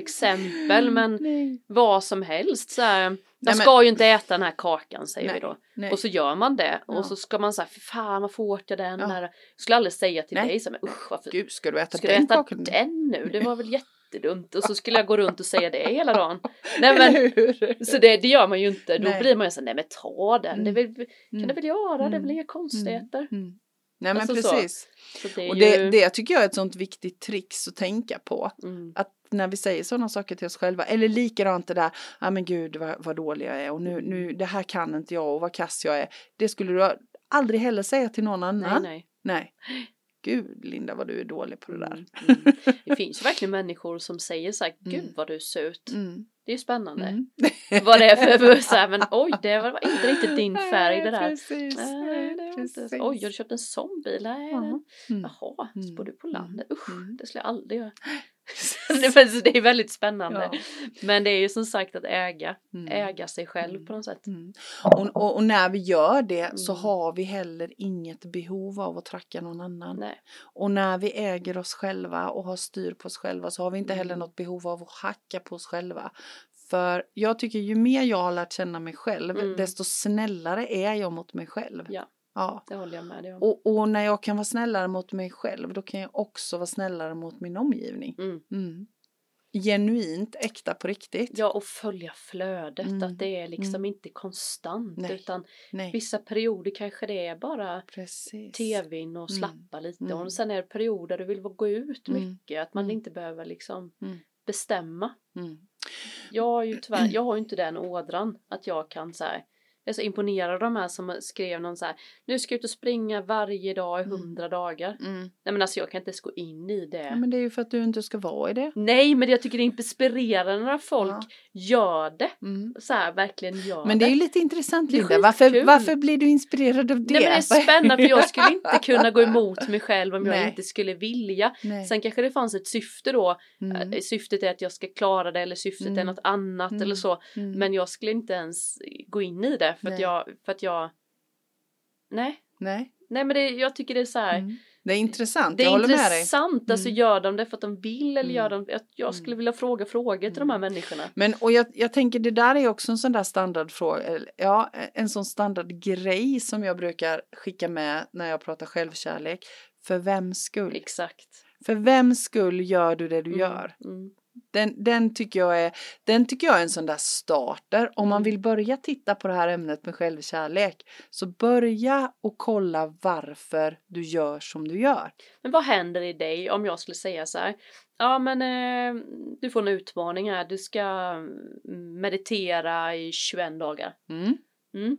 exempel, men
Nej.
vad som helst så här, jag
men-
ska ju inte äta den här kakan säger
Nej,
vi då.
Nej.
Och så gör man det
Ja.
och så ska man säga, fy fan varför åt jag den
Ja.
där? Jag skulle aldrig säga till
Nej.
dig så här, men usch varför
Gud, ska du äta
Ska du
den
äta
kakan?
den nu? Det var väl jättedumt. Och så skulle jag gå runt och säga det hela dagen. Nej men,
Eller hur?
så det, det gör man ju inte. Då
Nej.
blir man ju såhär, nej men ta den.
Mm.
Det är väl, kan det väl göra? Det är
Mm.
väl inga konstigheter.
Mm. Nej men
Alltså så.
precis.
Så det är
Och
ju...
det, det tycker jag är ett sånt viktigt trix att tänka på.
Mm.
Att när vi säger sådana saker till oss själva, eller likadant det där, ja men gud vad, vad dålig jag är och nu, nu, det här kan inte jag och vad kass jag är. Det skulle du aldrig heller säga till någon
Nej,
annan.
nej.
Nej. Gud Linda vad du är dålig på det där.
Mm. Mm. Det finns ju verkligen människor som säger så här,
Mm.
gud vad du ser ut.
Mm.
Det är ju spännande.
Mm.
Vad det är för, så här, men oj, det var inte riktigt din färg det
Nej,
där.
Precis.
Nej, det var inte.
precis.
Oj, har du köpt en sån bil? Nej,
Ja.
den-
Mm.
Jaha, så bor du på landet? Usch,
Mm.
det skulle jag aldrig göra. Nej, men så det är väldigt spännande. Eh,
Ja.
Men det är ju som sagt att äga,
Mm.
äga sig själv
Mm.
på något sätt.
Mm. Och, och, och när vi gör det så
Mm.
har vi heller inget behov av att tracka någon annan.
Nej.
Och när vi äger oss själva och har styr på oss själva så har vi inte heller
Mm.
något behov av att hacka på oss själva. För jag tycker ju mer jag har lärt känna mig själv
Mm.
desto snällare är jag mot mig själv.
Ja.
ja.
Det håller jag med dig om.
Och, och när jag kan vara snällare mot mig själv då kan jag också vara snällare mot min omgivning.
Mm.
Mm. Genuint, äkta på riktigt.
Ja, och följa flödet,
Mm.
att det är liksom
Mm.
inte konstant
Nej.
utan
Nej,
vissa perioder kanske det är bara
precis.
tvn och
Mm.
slappa lite
Mm.
och sen är det perioder du vill gå ut
Mm.
mycket, att man
Mm.
inte behöver liksom
Mm.
bestämma.
Mm.
Jag har ju tyvärr, jag har ju inte den ådran att jag kan så här. Jag är så imponerad av de här som skrev någon så här. Nu ska jag ut och springa varje dag i
Mm.
hundra dagar.
Mm.
Nej men alltså jag kan inte ens gå in i det.
Ja, men det är ju för att du inte ska vara i det.
Nej men jag tycker det är inspirerande när folk
Ja.
gör det.
Mm.
Så här verkligen gör
Men det är ju lite intressant
Det är
Linda. Varför,
skitkul.
varför blir du inspirerad av det?
Nej men det är spännande för jag skulle inte kunna gå emot mig själv om
Nej.
jag inte skulle vilja.
Nej.
Sen kanske det fanns ett syfte då.
Mm,
Eh, Syftet är att jag ska klara det eller syftet
Mm.
är något annat
Mm.
eller så.
mm.
Men jag skulle inte ens gå in i det för att
Nej.
jag, för att jag, nej,
Nej.
nej men det, jag tycker det är så här.
Mm. Det är intressant,
Det
jag
är
håller med dig.
intressant, alltså
Mm.
gör de det för att de vill eller gör
Mm.
de jag, jag skulle
Mm.
vilja fråga frågor till de här människorna.
Men och jag, jag tänker det där är också en sån där standardfråga, eller, ja en sån standardgrej som jag brukar skicka med när jag pratar självkärlek. För vems skull?
Exakt.
För vems skull gör du det du
Mm,
gör?
Mm.
Den, den, tycker jag är, den tycker jag är en sån där starter. Om man
Mm.
vill börja titta på det här ämnet med självkärlek så börja och kolla varför du gör som du gör.
Men vad händer i dig om jag skulle säga så här? Ja men eh, du får en utmaning här, du ska mm, meditera i 21 dagar.
Mm.
Mm.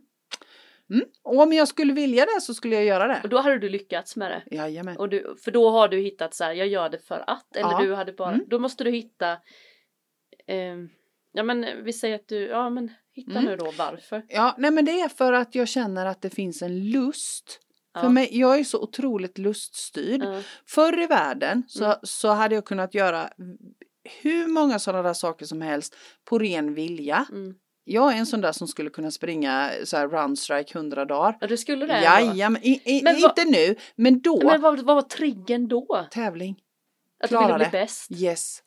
Mm. Och om jag skulle vilja det så skulle jag göra det.
Och då hade du lyckats med det.
Jajamän.
Och du, för då har du hittat så här, jag gör det för att. Eller
Ja.
du hade bara,
Mm.
då måste du hitta, ehm, ja men vi säger att du, ja men hitta
Mm.
nu då varför.
Ja, nej men det är för att jag känner att det finns en lust.
Ja.
För mig, jag är så otroligt luststyrd.
Ja.
Förr i världen så,
Mm.
så hade jag kunnat göra hur många sådana där saker som helst på ren vilja.
Mm.
Jag är en sån där som skulle kunna springa så här run strike 100 dagar.
ja, du skulle det ändå.
Jajamän, i, i,
Men vad-
inte nu, men då.
Men vad, vad var triggen då?
Tävling,
Att du
Klara
ville bli
det.
bäst?
yes.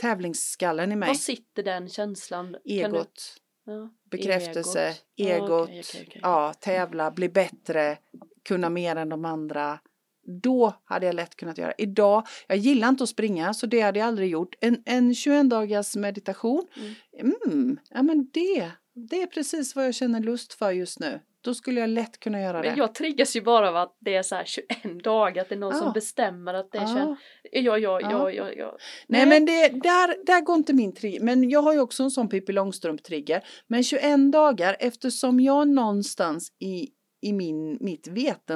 Tävlingsskallen i mig.
Var sitter den känslan? Kan
Egot,
Du, ja,
bekräftelse,
egot.
egot,
Ja, okej, okej, okej.
ja, tävla, bli bättre, kunna mer än de andra. Då hade jag lätt kunnat göra. Idag, jag gillar inte att springa så det hade jag aldrig gjort. En, en 21 dagars meditation, mm, ja men det, det är precis vad jag känner lust för just nu. Då skulle jag lätt kunna göra
Men
det.
jag triggas ju bara av att det är så här 21 dagar, att det är någon
Ja.
som bestämmer att det är
Ja.
21. Ja, ja,
Ja.
ja, ja, ja.
Nej Ah, men det, där, där går inte min trigger. Men jag har ju också en sån Pippi Långstrump-trigger. Men 21 dagar eftersom jag någonstans i, i min, mitt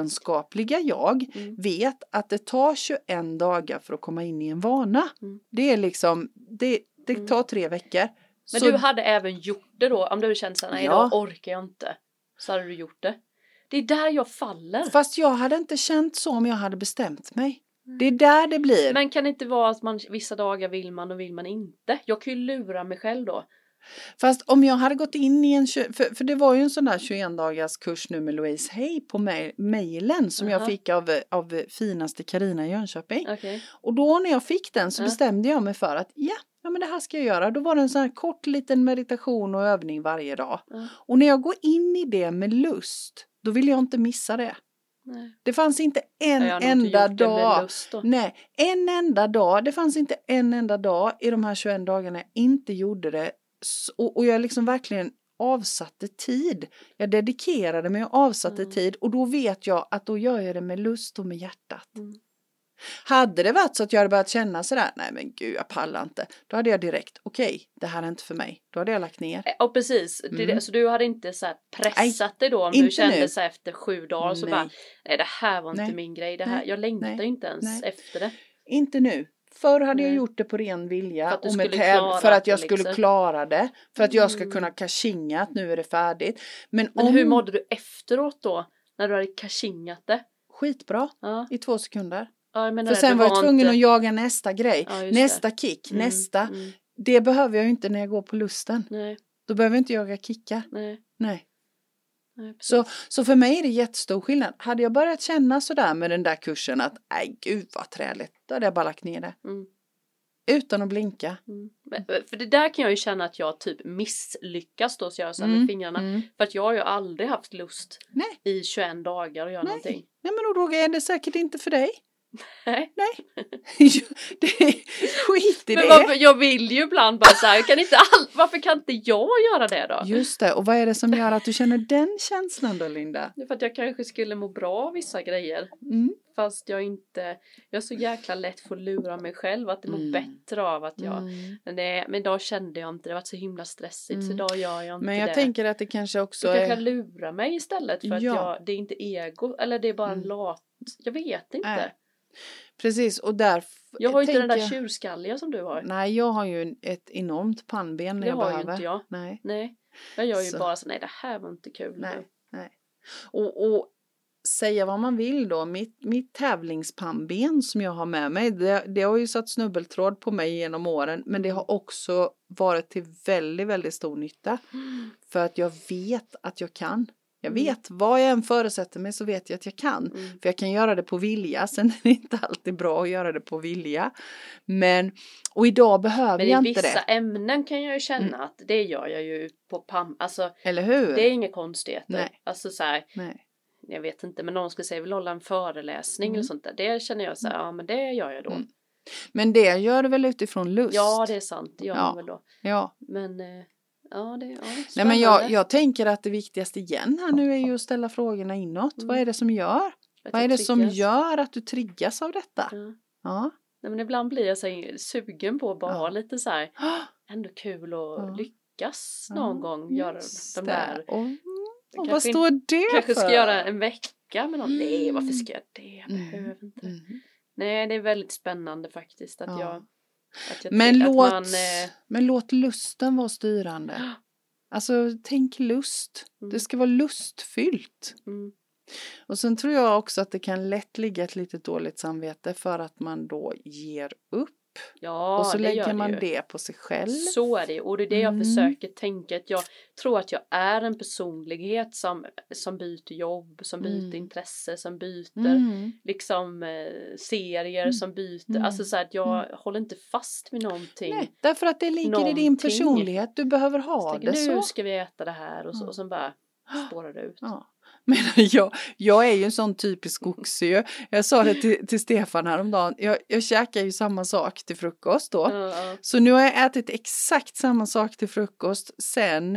vetenskapliga jag
Mm.
vet att det tar 21 dagar för att komma in i en vana.
Mm.
Det är liksom, det, det
Mm.
tar tre veckor.
Men
Så-
du hade även gjort det då, om du hade känt såhär, nej
Ja.
idag orkar jag inte. Så hade du gjort det. Det är där jag faller.
Fast jag hade inte känt så om jag hade bestämt mig. Det är där det blir.
Mm. Men kan det inte vara att man vissa dagar vill man och vill man inte? Jag kan ju lura mig själv då.
Fast om jag hade gått in i en, tjo- för, för det var ju en sån där 21 dagars kurs nu med Louise Hay på mej- mejlen som
Aha.
jag fick av, av finaste Karina i Jönköping.
Okej.
Och då när jag fick den så
Ja.
bestämde jag mig för att ja, ja men det här ska jag göra. Då var det en sån här kort liten meditation och övning varje dag.
Ja.
Och när jag går in i det med lust, då vill jag inte missa det.
Nej.
Det fanns inte en
Jag har nog inte
enda
gjort det med
dag.
lust då.
Nej, en enda dag. Det fanns inte en enda dag i de här 21 dagarna jag inte gjorde det. S- Och, och jag liksom verkligen avsatte tid. Jag dedikerade mig och avsatte
Mm.
tid och då vet jag att då gör jag det med lust och med hjärtat.
Mm.
Hade det varit så att jag hade börjat känna sådär, nej men gud jag pallar inte. Då hade jag direkt, okej, det här är inte för mig. Då hade jag lagt ner.
Eh, Ja precis, det, är det.
Mm.
så du hade inte så här pressat dig då om du
inte
kände
nu.
så här efter sju dagar så
nej,
bara nej det här var inte
Nej.
min grej, det här,
Nej.
jag längtar
Nej.
ju inte ens
Nej.
efter det.
inte nu. Förr hade jag
Nej.
gjort det på ren
För
vilja
att du
och med
skulle
täv-
klara
för att
det
jag skulle
liksom.
klara det. För att jag ska
Mm.
kunna kashinga att nu är det färdigt. Men,
Men
om...
hur mådde du efteråt då? När du hade kashingat det?
Skitbra
Ja,
i två sekunder.
ja jag menar
För
det,
sen
det
var jag tvungen
inte-
att jaga nästa grej.
Ja, just det.
nästa kick,
Mm,
nästa.
mm.
Det behöver jag ju inte när jag går på lusten.
Nej,
Då behöver jag inte jaga kickar.
nej,
Nej.
nej. precis.
Så, så för mig är det jättestor skillnad. Hade jag börjat känna sådär med den där kursen att nej gud vad träligt. Då hade jag bara lagt ner det.
Mm.
Utan att blinka.
Mm. Men- För det där kan jag ju känna att jag typ misslyckas då så jag har så här med
Mm,
fingrarna.
Mm.
För att jag har ju aldrig haft lust
Nej.
i 21 dagar att göra
Nej.
någonting.
Nej men då är det säkert inte för dig.
Nej.
det är, skit i
Men
det.
varför, jag vill ju ibland bara såhär, kan inte all, varför kan inte jag göra det då?
Just det, och vad är det som gör att du känner den känslan då Linda?
Det är För att jag kanske skulle må bra av vissa grejer.
Mm.
Fast jag inte, jag är så jäkla lätt för att lura mig själv att det mår
Mm.
bättre av att jag,
Mm.
nej men idag kände jag inte det, det var så himla stressigt så
Mm.
idag gör jag inte
Men jag
det.
tänker att det kanske också
Så kanske jag
är...
lurar mig istället för att
Ja.
jag, det är inte ego eller det är bara en
Mm.
lat, jag vet inte.
Nej. Precis, och därför...
Jag har ju inte den där
tänker jag-
tjurskalliga som du har.
Nej, jag har ju en- ett enormt pannben när
det
jag
har
behöver.
ju inte jag.
Nej,
Nej. Jag gör ju
Så.
bara så, nej det här var inte kul.
nej, nej. Och, och säga vad man vill då, mitt, mitt tävlingspannben som jag har med mig, det, det har ju satt snubbeltråd på mig genom åren, men det har också varit till väldigt, väldigt stor nytta.
Mm.
För att jag vet att jag kan. Jag
Mm.
vet, vad jag än föresätter mig så vet jag att jag kan.
Mm.
För jag kan göra det på vilja, sen är det inte alltid bra att göra det på vilja. Men, och idag behöver
Men
jag
i
inte
vissa
det. Mm.
ämnen kan jag ju känna att det gör jag ju på pam, alltså
Eller hur?
det är inga konstigheter.
Nej.
Alltså så här,
Nej.
jag vet inte men någon ska säga, jag vill hålla en föreläsning
Mm.
eller sånt där. Det känner jag så här, ja men det gör jag då.
Mm. Men det gör du väl utifrån lust?
Ja det är sant, det gör
Ja.
jag väl då.
Ja.
Men eh, ja det, ja,
Nej, men jag,
spännande.
jag tänker att det viktigaste igen här nu är ju att ställa frågorna inåt.
Mm.
Vad är det som gör?
Att
Vad är
jag
det som
triggas. Mm.
gör att du triggas av detta?
Ja.
Ja.
Nej, men ibland blir jag så här, sugen på att bara
Ja.
ha lite så här
Ah,
ändå kul och
Ja.
lyckas någon gång göra
just
de
det.
där
Och, Och vad
kanske,
står det
kanske
för?
ska göra en vecka med någon.
Mm.
Nej, varför ska jag det? Jag
Mm.
behöver inte.
Mm.
Nej, det är väldigt spännande faktiskt att
Ja.
jag... Att jag
Men,
att
låt,
man, eh,
men låt lusten vara styrande. Alltså tänk lust.
Mm.
Det ska vara lustfyllt.
mm,
Och sen tror jag också att det kan lätt ligga ett litet dåligt samvete för att man då ger upp.
ja,
och så
det
lägger
gör
man
ju.
det på sig själv.
Så är det och det är det jag
Mm.
försöker tänka att jag tror att jag är en personlighet som, som byter jobb, som byter
Mm.
intresse, som byter
Mm.
liksom eh, serier,
Mm.
som byter,
Mm.
alltså så här att jag håller inte fast vid någonting.
Nej, därför att det ligger i din
Någonting.
personlighet. Du behöver
Så
ha
tänker,
det
nu
så.
ska vi äta det här och så,
Ja.
och sen bara spårar det ut.
Ja. Men jag, jag är ju en sån typisk skogsö. Jag sa det till, till Stefan häromdagen. Jag, jag käkar ju samma sak till frukost då.
Ja, ja.
Så nu har jag ätit exakt samma sak till frukost sen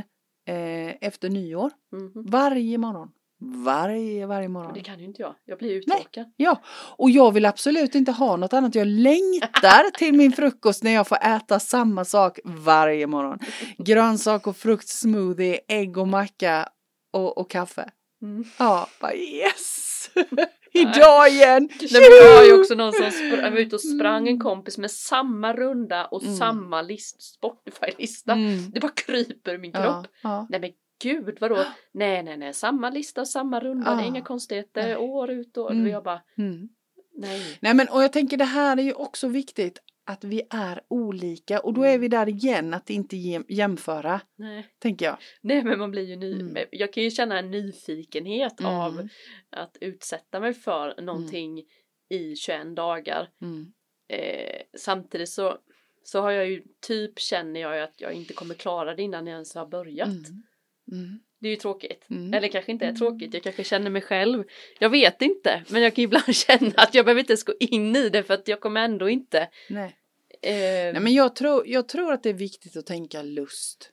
eh, efter nyår.
Mhm.
Varje morgon. Varje, varje
Men Det
morgon.
kan ju inte jag, jag blir uttråkad.
Ja, och jag vill absolut inte ha något annat. Jag längtar till min frukost när jag får äta samma sak varje morgon. Grönsak och frukt, smoothie, ägg och macka och, och kaffe.
Mm.
Ja, bara yes! Idag igen!
Nej, men det var ju också någon som spr- var ute och sprang en kompis med samma runda och
Mm.
samma list, Spotify-lista.
Mm.
Det bara kryper i min kropp.
Ja, ja.
Nej men gud vadå? Nej nej nej samma lista, samma runda, det är inga
Ah.
konstigheter,
Nej.
år ut och
Mm.
och jag bara
Mm.
nej.
Nej men och jag tänker det här är ju också viktigt att vi är olika och då är vi där igen att inte jäm- jämföra
nej.
tänker jag.
Nej men man blir ju ny,
Mm.
jag kan ju känna en nyfikenhet
Mm.
av att utsätta mig för någonting i 21 dagar.
Mm.
Eh, samtidigt så, så har jag ju typ känner jag ju att jag inte kommer klara det innan jag ens har börjat.
Mm. Mm.
Det är ju tråkigt.
Mm.
Eller kanske inte är tråkigt, jag kanske känner mig själv. Jag vet inte, men jag kan ibland känna att jag behöver inte ens gå in i det för att jag kommer ändå inte
Nej.
Eh,
Nej men jag tror, jag tror att det är viktigt att tänka lust.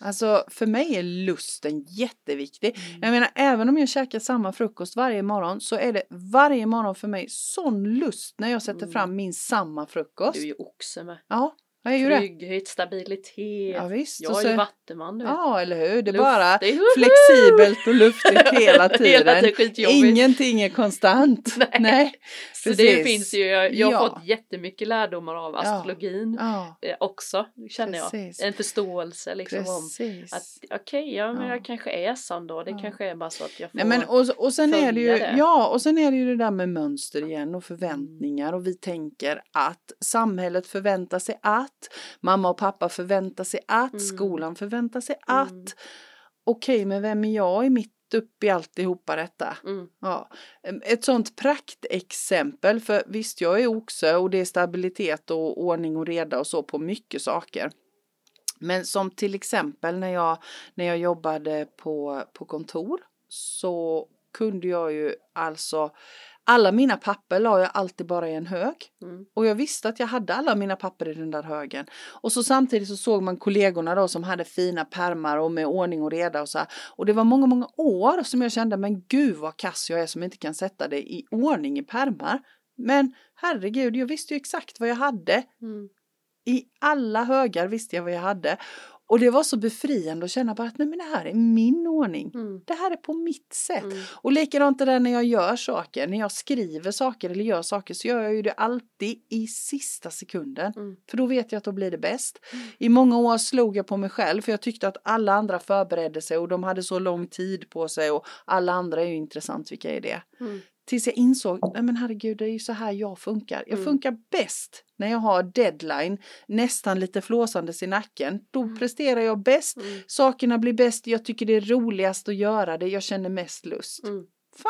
Alltså för mig är lusten jätteviktig.
mm.
Jag menar även om jag käkar samma frukost varje morgon så är det varje morgon för mig sån lust när jag sätter
Mm.
fram min samma frukost.
Du är ju oxe med.
Ja, jag är ju det.
Trygghet, stabilitet.
Ja, visst.
jag
Och
är
så-
ju vattenman du vet.
Ja eller hur, det är
Luft,
bara
det är ju-
flexibelt och luftigt hela
Hela
tiden.
tiden skitjobbigt.
Ingenting är konstant.
Nej.
Nej.
Så det
precis.
finns ju, jag, jag har
Ja.
fått jättemycket lärdomar av astrologin
Ja,
eh, också, känner
Precis.
jag. En förståelse liksom om
precis.
att okej, ja men
Ja.
jag kanske är sån då. Det
Ja.
kanske är bara så att jag får.
Nej, men, och, och sen är det ju,
följa det.
ja, och sen är det ju det där med mönster igen och förväntningar
Mm.
och vi tänker att samhället förväntar sig att, mamma och pappa förväntar sig att,
Mm.
skolan förväntar sig
Mm.
att. Okej, men vem är jag i mitt upp i alltihopa detta?
mm,
Ja, ett sånt praktexempel, för visst jag är oxe och det är stabilitet och ordning och reda och så på mycket saker. Men som till exempel när jag, när jag jobbade på, på kontor så kunde jag ju alltså, alla mina papper la jag alltid bara i en hög.
mm,
Och jag visste att jag hade alla mina papper i den där högen. Och så samtidigt så såg man kollegorna då som hade fina pärmar och med ordning och reda och så här. Och det var många, många år som jag kände, men gud vad kass jag är som inte kan sätta det i ordning i pärmar. Men herregud, jag visste ju exakt vad jag hade.
mm.
I alla högar visste jag vad jag hade. Och det var så befriande att känna bara att nej men det här är min ordning.
Mm.
Det här är på mitt sätt.
Mm.
Och likadant det där när jag gör saker, när jag skriver saker eller gör saker så gör jag ju det alltid i sista sekunden.
Mm.
För då vet jag att då blir det bäst. I många år slog jag på mig själv för jag tyckte att alla andra förberedde sig och de hade så lång tid på sig och alla andra är ju intressant, vilka är det?
Mm.
Tills jag insåg, nej men herregud det är ju så här jag funkar. Jag
Mm.
funkar bäst när jag har deadline, nästan lite flåsandes i nacken. Då presterar jag bäst,
Mm.
sakerna blir bäst, jag tycker det är roligast att göra det, jag känner mest lust.
Mm.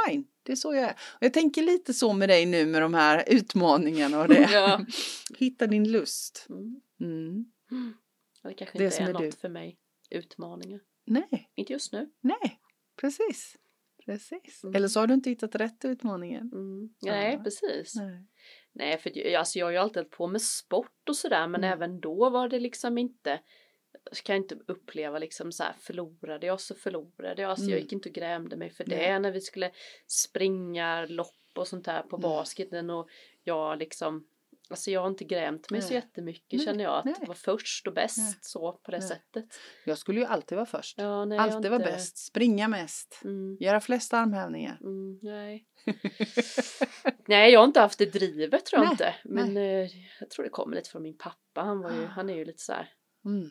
Fine, det är så jag är. Och jag tänker lite så med dig nu med de här utmaningarna och det.
Ja.
Hitta din lust.
Mm.
Mm.
Det kanske
Det
inte
som
är,
är
något
du.
för mig. Utmaningar.
Nej,
Inte just nu.
nej, precis. Precis.
Mm.
Eller så har du inte hittat rätt utmaningen.
Mm. Nej,
Ja.
precis.
Nej.
Nej, för jag- alltså jag har ju alltid hållit på med sport och sådär, men
Mm.
även då var det liksom inte, jag kan inte uppleva liksom så här, förlorade jag så förlorade jag, alltså jag
Mm.
gick inte och grämde mig för det
Nej.
när vi skulle springa lopp och sånt där på
Nej.
basketen och jag liksom Alltså jag har inte grämt mig så
Nej.
jättemycket
Nej,
känner jag att
nej.
vara först och bäst
Nej.
så på det
Nej.
sättet.
Jag skulle ju alltid vara först.
Ja, nej, jag har
alltid vara
inte-
bäst, springa mest,
Mm,
göra flest armhävningar.
mm, nej. nej, jag har inte haft det drivet tror jag
Nej, Ah.
inte. Men eh, jag tror det kommer lite från min pappa. Han, var ju, han är ju lite så här,
Mm.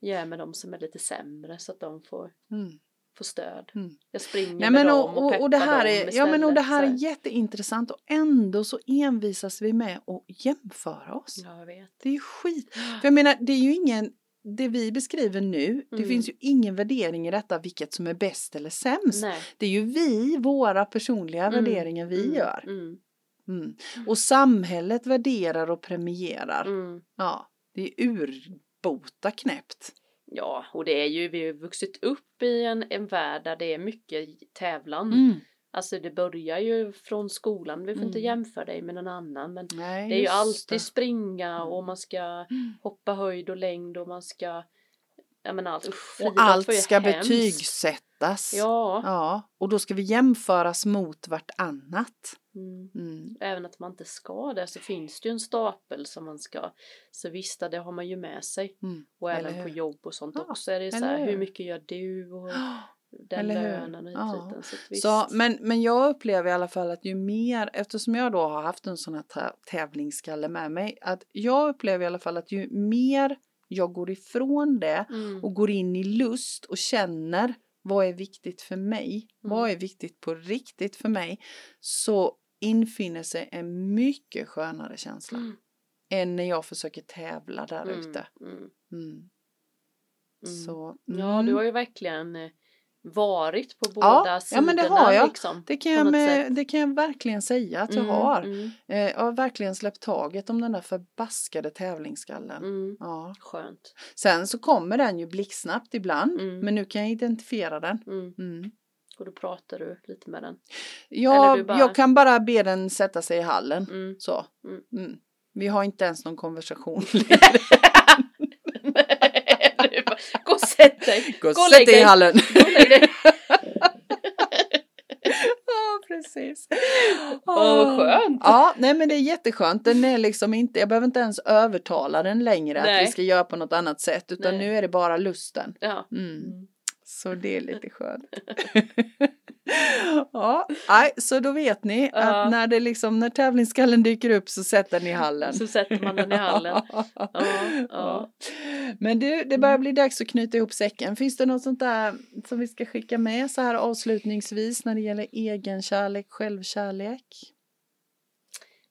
jag är med de som är lite sämre så att de får,
Mm.
får stöd.
Mm.
Jag springer
Nej,
med
men
dem
och,
och,
och, och det
peppar
här
dem
är, ja, men och
istället,
det här
så
är jätteintressant och ändå så envisas vi med att jämföra oss.
Ja, jag vet.
Det är ju skit. För jag menar, det är ju ingen, det vi beskriver nu, det
Mm.
finns ju ingen värdering i detta vilket som är bäst eller sämst.
Nej.
Det är ju vi, våra personliga
Mm.
värderingar vi
mm,
gör.
Mm,
Mm. Och samhället värderar och premierar.
mm.
Ja, det är urbota knäppt.
Ja, och det är ju, vi har ju vuxit upp i en, en värld där det är mycket tävlan. Alltså det börjar ju från skolan, vi får inte
Mm.
jämföra dig med någon annan men
Nej,
det är ju
just
alltid
det.
springa och
Mm.
man ska
Mm.
hoppa höjd och längd och man ska, ja men allt, usch,
Och
friidrott var
allt
ju
ska
hemskt.
betygsättas.
Ja,
Ja, och då ska vi jämföras mot vartannat.
mm.
Mm.
även att man inte ska det så finns det ju en stapel som man ska, så visst det har man ju med sig
Mm.
och
Eller
även på
hur?
jobb och sånt
Ja,
också är det ju så
eller
här, hur
hur?
mycket gör du och den
eller hur?
lönen och hit
Ja.
och dit. så att visst.
Så, men, men jag upplever i alla fall att ju mer, eftersom jag då har haft en sån här ta- tävlingsskalle med mig, att jag upplever i alla fall att ju mer jag går ifrån det
mm.
och går in i lust och känner vad är viktigt för mig,
Mm.
vad är viktigt på riktigt för mig, så infinner sig en mycket skönare känsla
Mm.
än när jag försöker tävla där
Mm,
ute.
mm,
Mm.
mm.
Så,
Ja,
mm.
du har ju verkligen eh, varit på båda
Ja, ja,
sidorna.
men det har jag.
Liksom,
det,
på
kan jag
något
med,
sätt.
det kan jag verkligen säga att
Mm,
jag har.
Mm,
Eh, jag har verkligen släppt taget om den där förbaskade tävlingsskallen.
mm.
Ja.
Skönt.
Sen så kommer den ju blixtsnabbt ibland,
Mm.
men nu kan jag identifiera den.
Mm.
Mm.
Och då pratar du lite med den. Eller du
Jag,
bara-
jag kan bara be den sätta sig i hallen.
Mm.
Så.
Mm.
Mm. Vi har inte ens någon konversation.
Du bara, Gå och sätt dig.
Gå och
och
sätt
lägg
dig i
dig.
hallen.
Gå och lägg dig.
Ja, precis.
Åh, vad skönt.
Ja, nej men det är jätteskönt. Den är liksom inte, jag behöver inte ens övertala den längre
Nej.
att vi ska göra på något annat sätt utan
Nej.
nu är det bara lusten.
Ja.
Mm.
Mm.
Så det är lite skönt. ja, nej, så då vet ni
Ja.
att när det liksom, när tävlingsskallen dyker upp så sätter ni i hallen.
Så sätter man den i hallen.
ja,
ja. Mm.
Men du, det börjar bli dags att knyta ihop säcken. Finns det något sånt där som vi ska skicka med så här avslutningsvis när det gäller egenkärlek, självkärlek?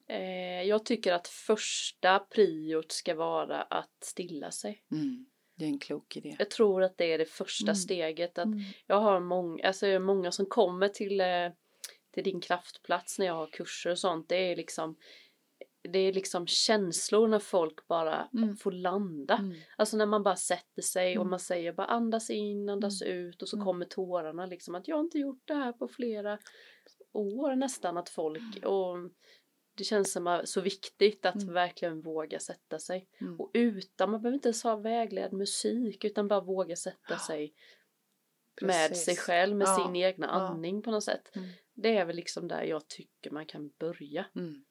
Eh, jag tycker att första priot ska vara att stilla sig.
Mm, det är en klok idé.
Jag tror att det är det första
Mm.
steget. Att
Mm.
Jag har många, alltså många som kommer till, eh, till din kraftplats när jag har kurser och sånt. Det är liksom, det är liksom känslor när folk bara
Mm.
får landa.
Mm.
Alltså när man bara sätter sig och
Mm.
man säger bara andas in, andas ut och så
Mm.
kommer tårarna liksom att jag har inte gjort det här på flera år nästan att folk och det känns som att- så viktigt att
Mm.
verkligen våga sätta sig.
Mm.
Och utan, man behöver inte ens ha vägledd musik utan bara våga sätta
Ja,
sig med sig
Precis.
själv, med
Ja,
sin egna
ja.
andning på något sätt.
Mm.
Det är väl liksom där jag tycker man kan börja
Mm.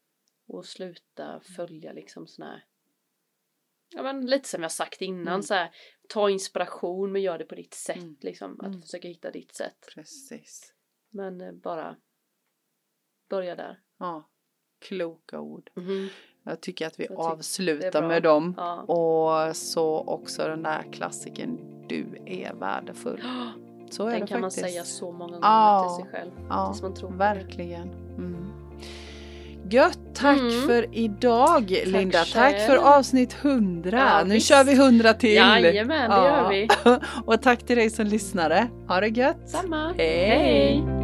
och sluta följa liksom sån här Ja men lite som jag sagt innan
Mm.
så här, ta inspiration men gör det på ditt sätt
Mm.
liksom. Att
Mm.
försöka hitta ditt sätt.
Precis.
Men eh, bara börja där.
Ja, kloka ord.
Mhm.
Jag tycker att vi
Jag tycker det är
avslutar
bra.
med dem.
Ja.
Och så också den där klassiken Du är värdefull. Så är
Den
det
kan man
faktiskt.
säga så många gånger
Ja.
till sig själv.
ja,
Tills man tror på det.
verkligen. Mm. Gött, tack
Mm.
för idag Linda. Tack
själv.
för avsnitt 100.
Ja,
nu
visst.
kör vi 100 till.
Jajamän, det
Ja.
gör vi.
Och tack till dig som lyssnare. Ha det gött.
Samma.
Hej.
Hej.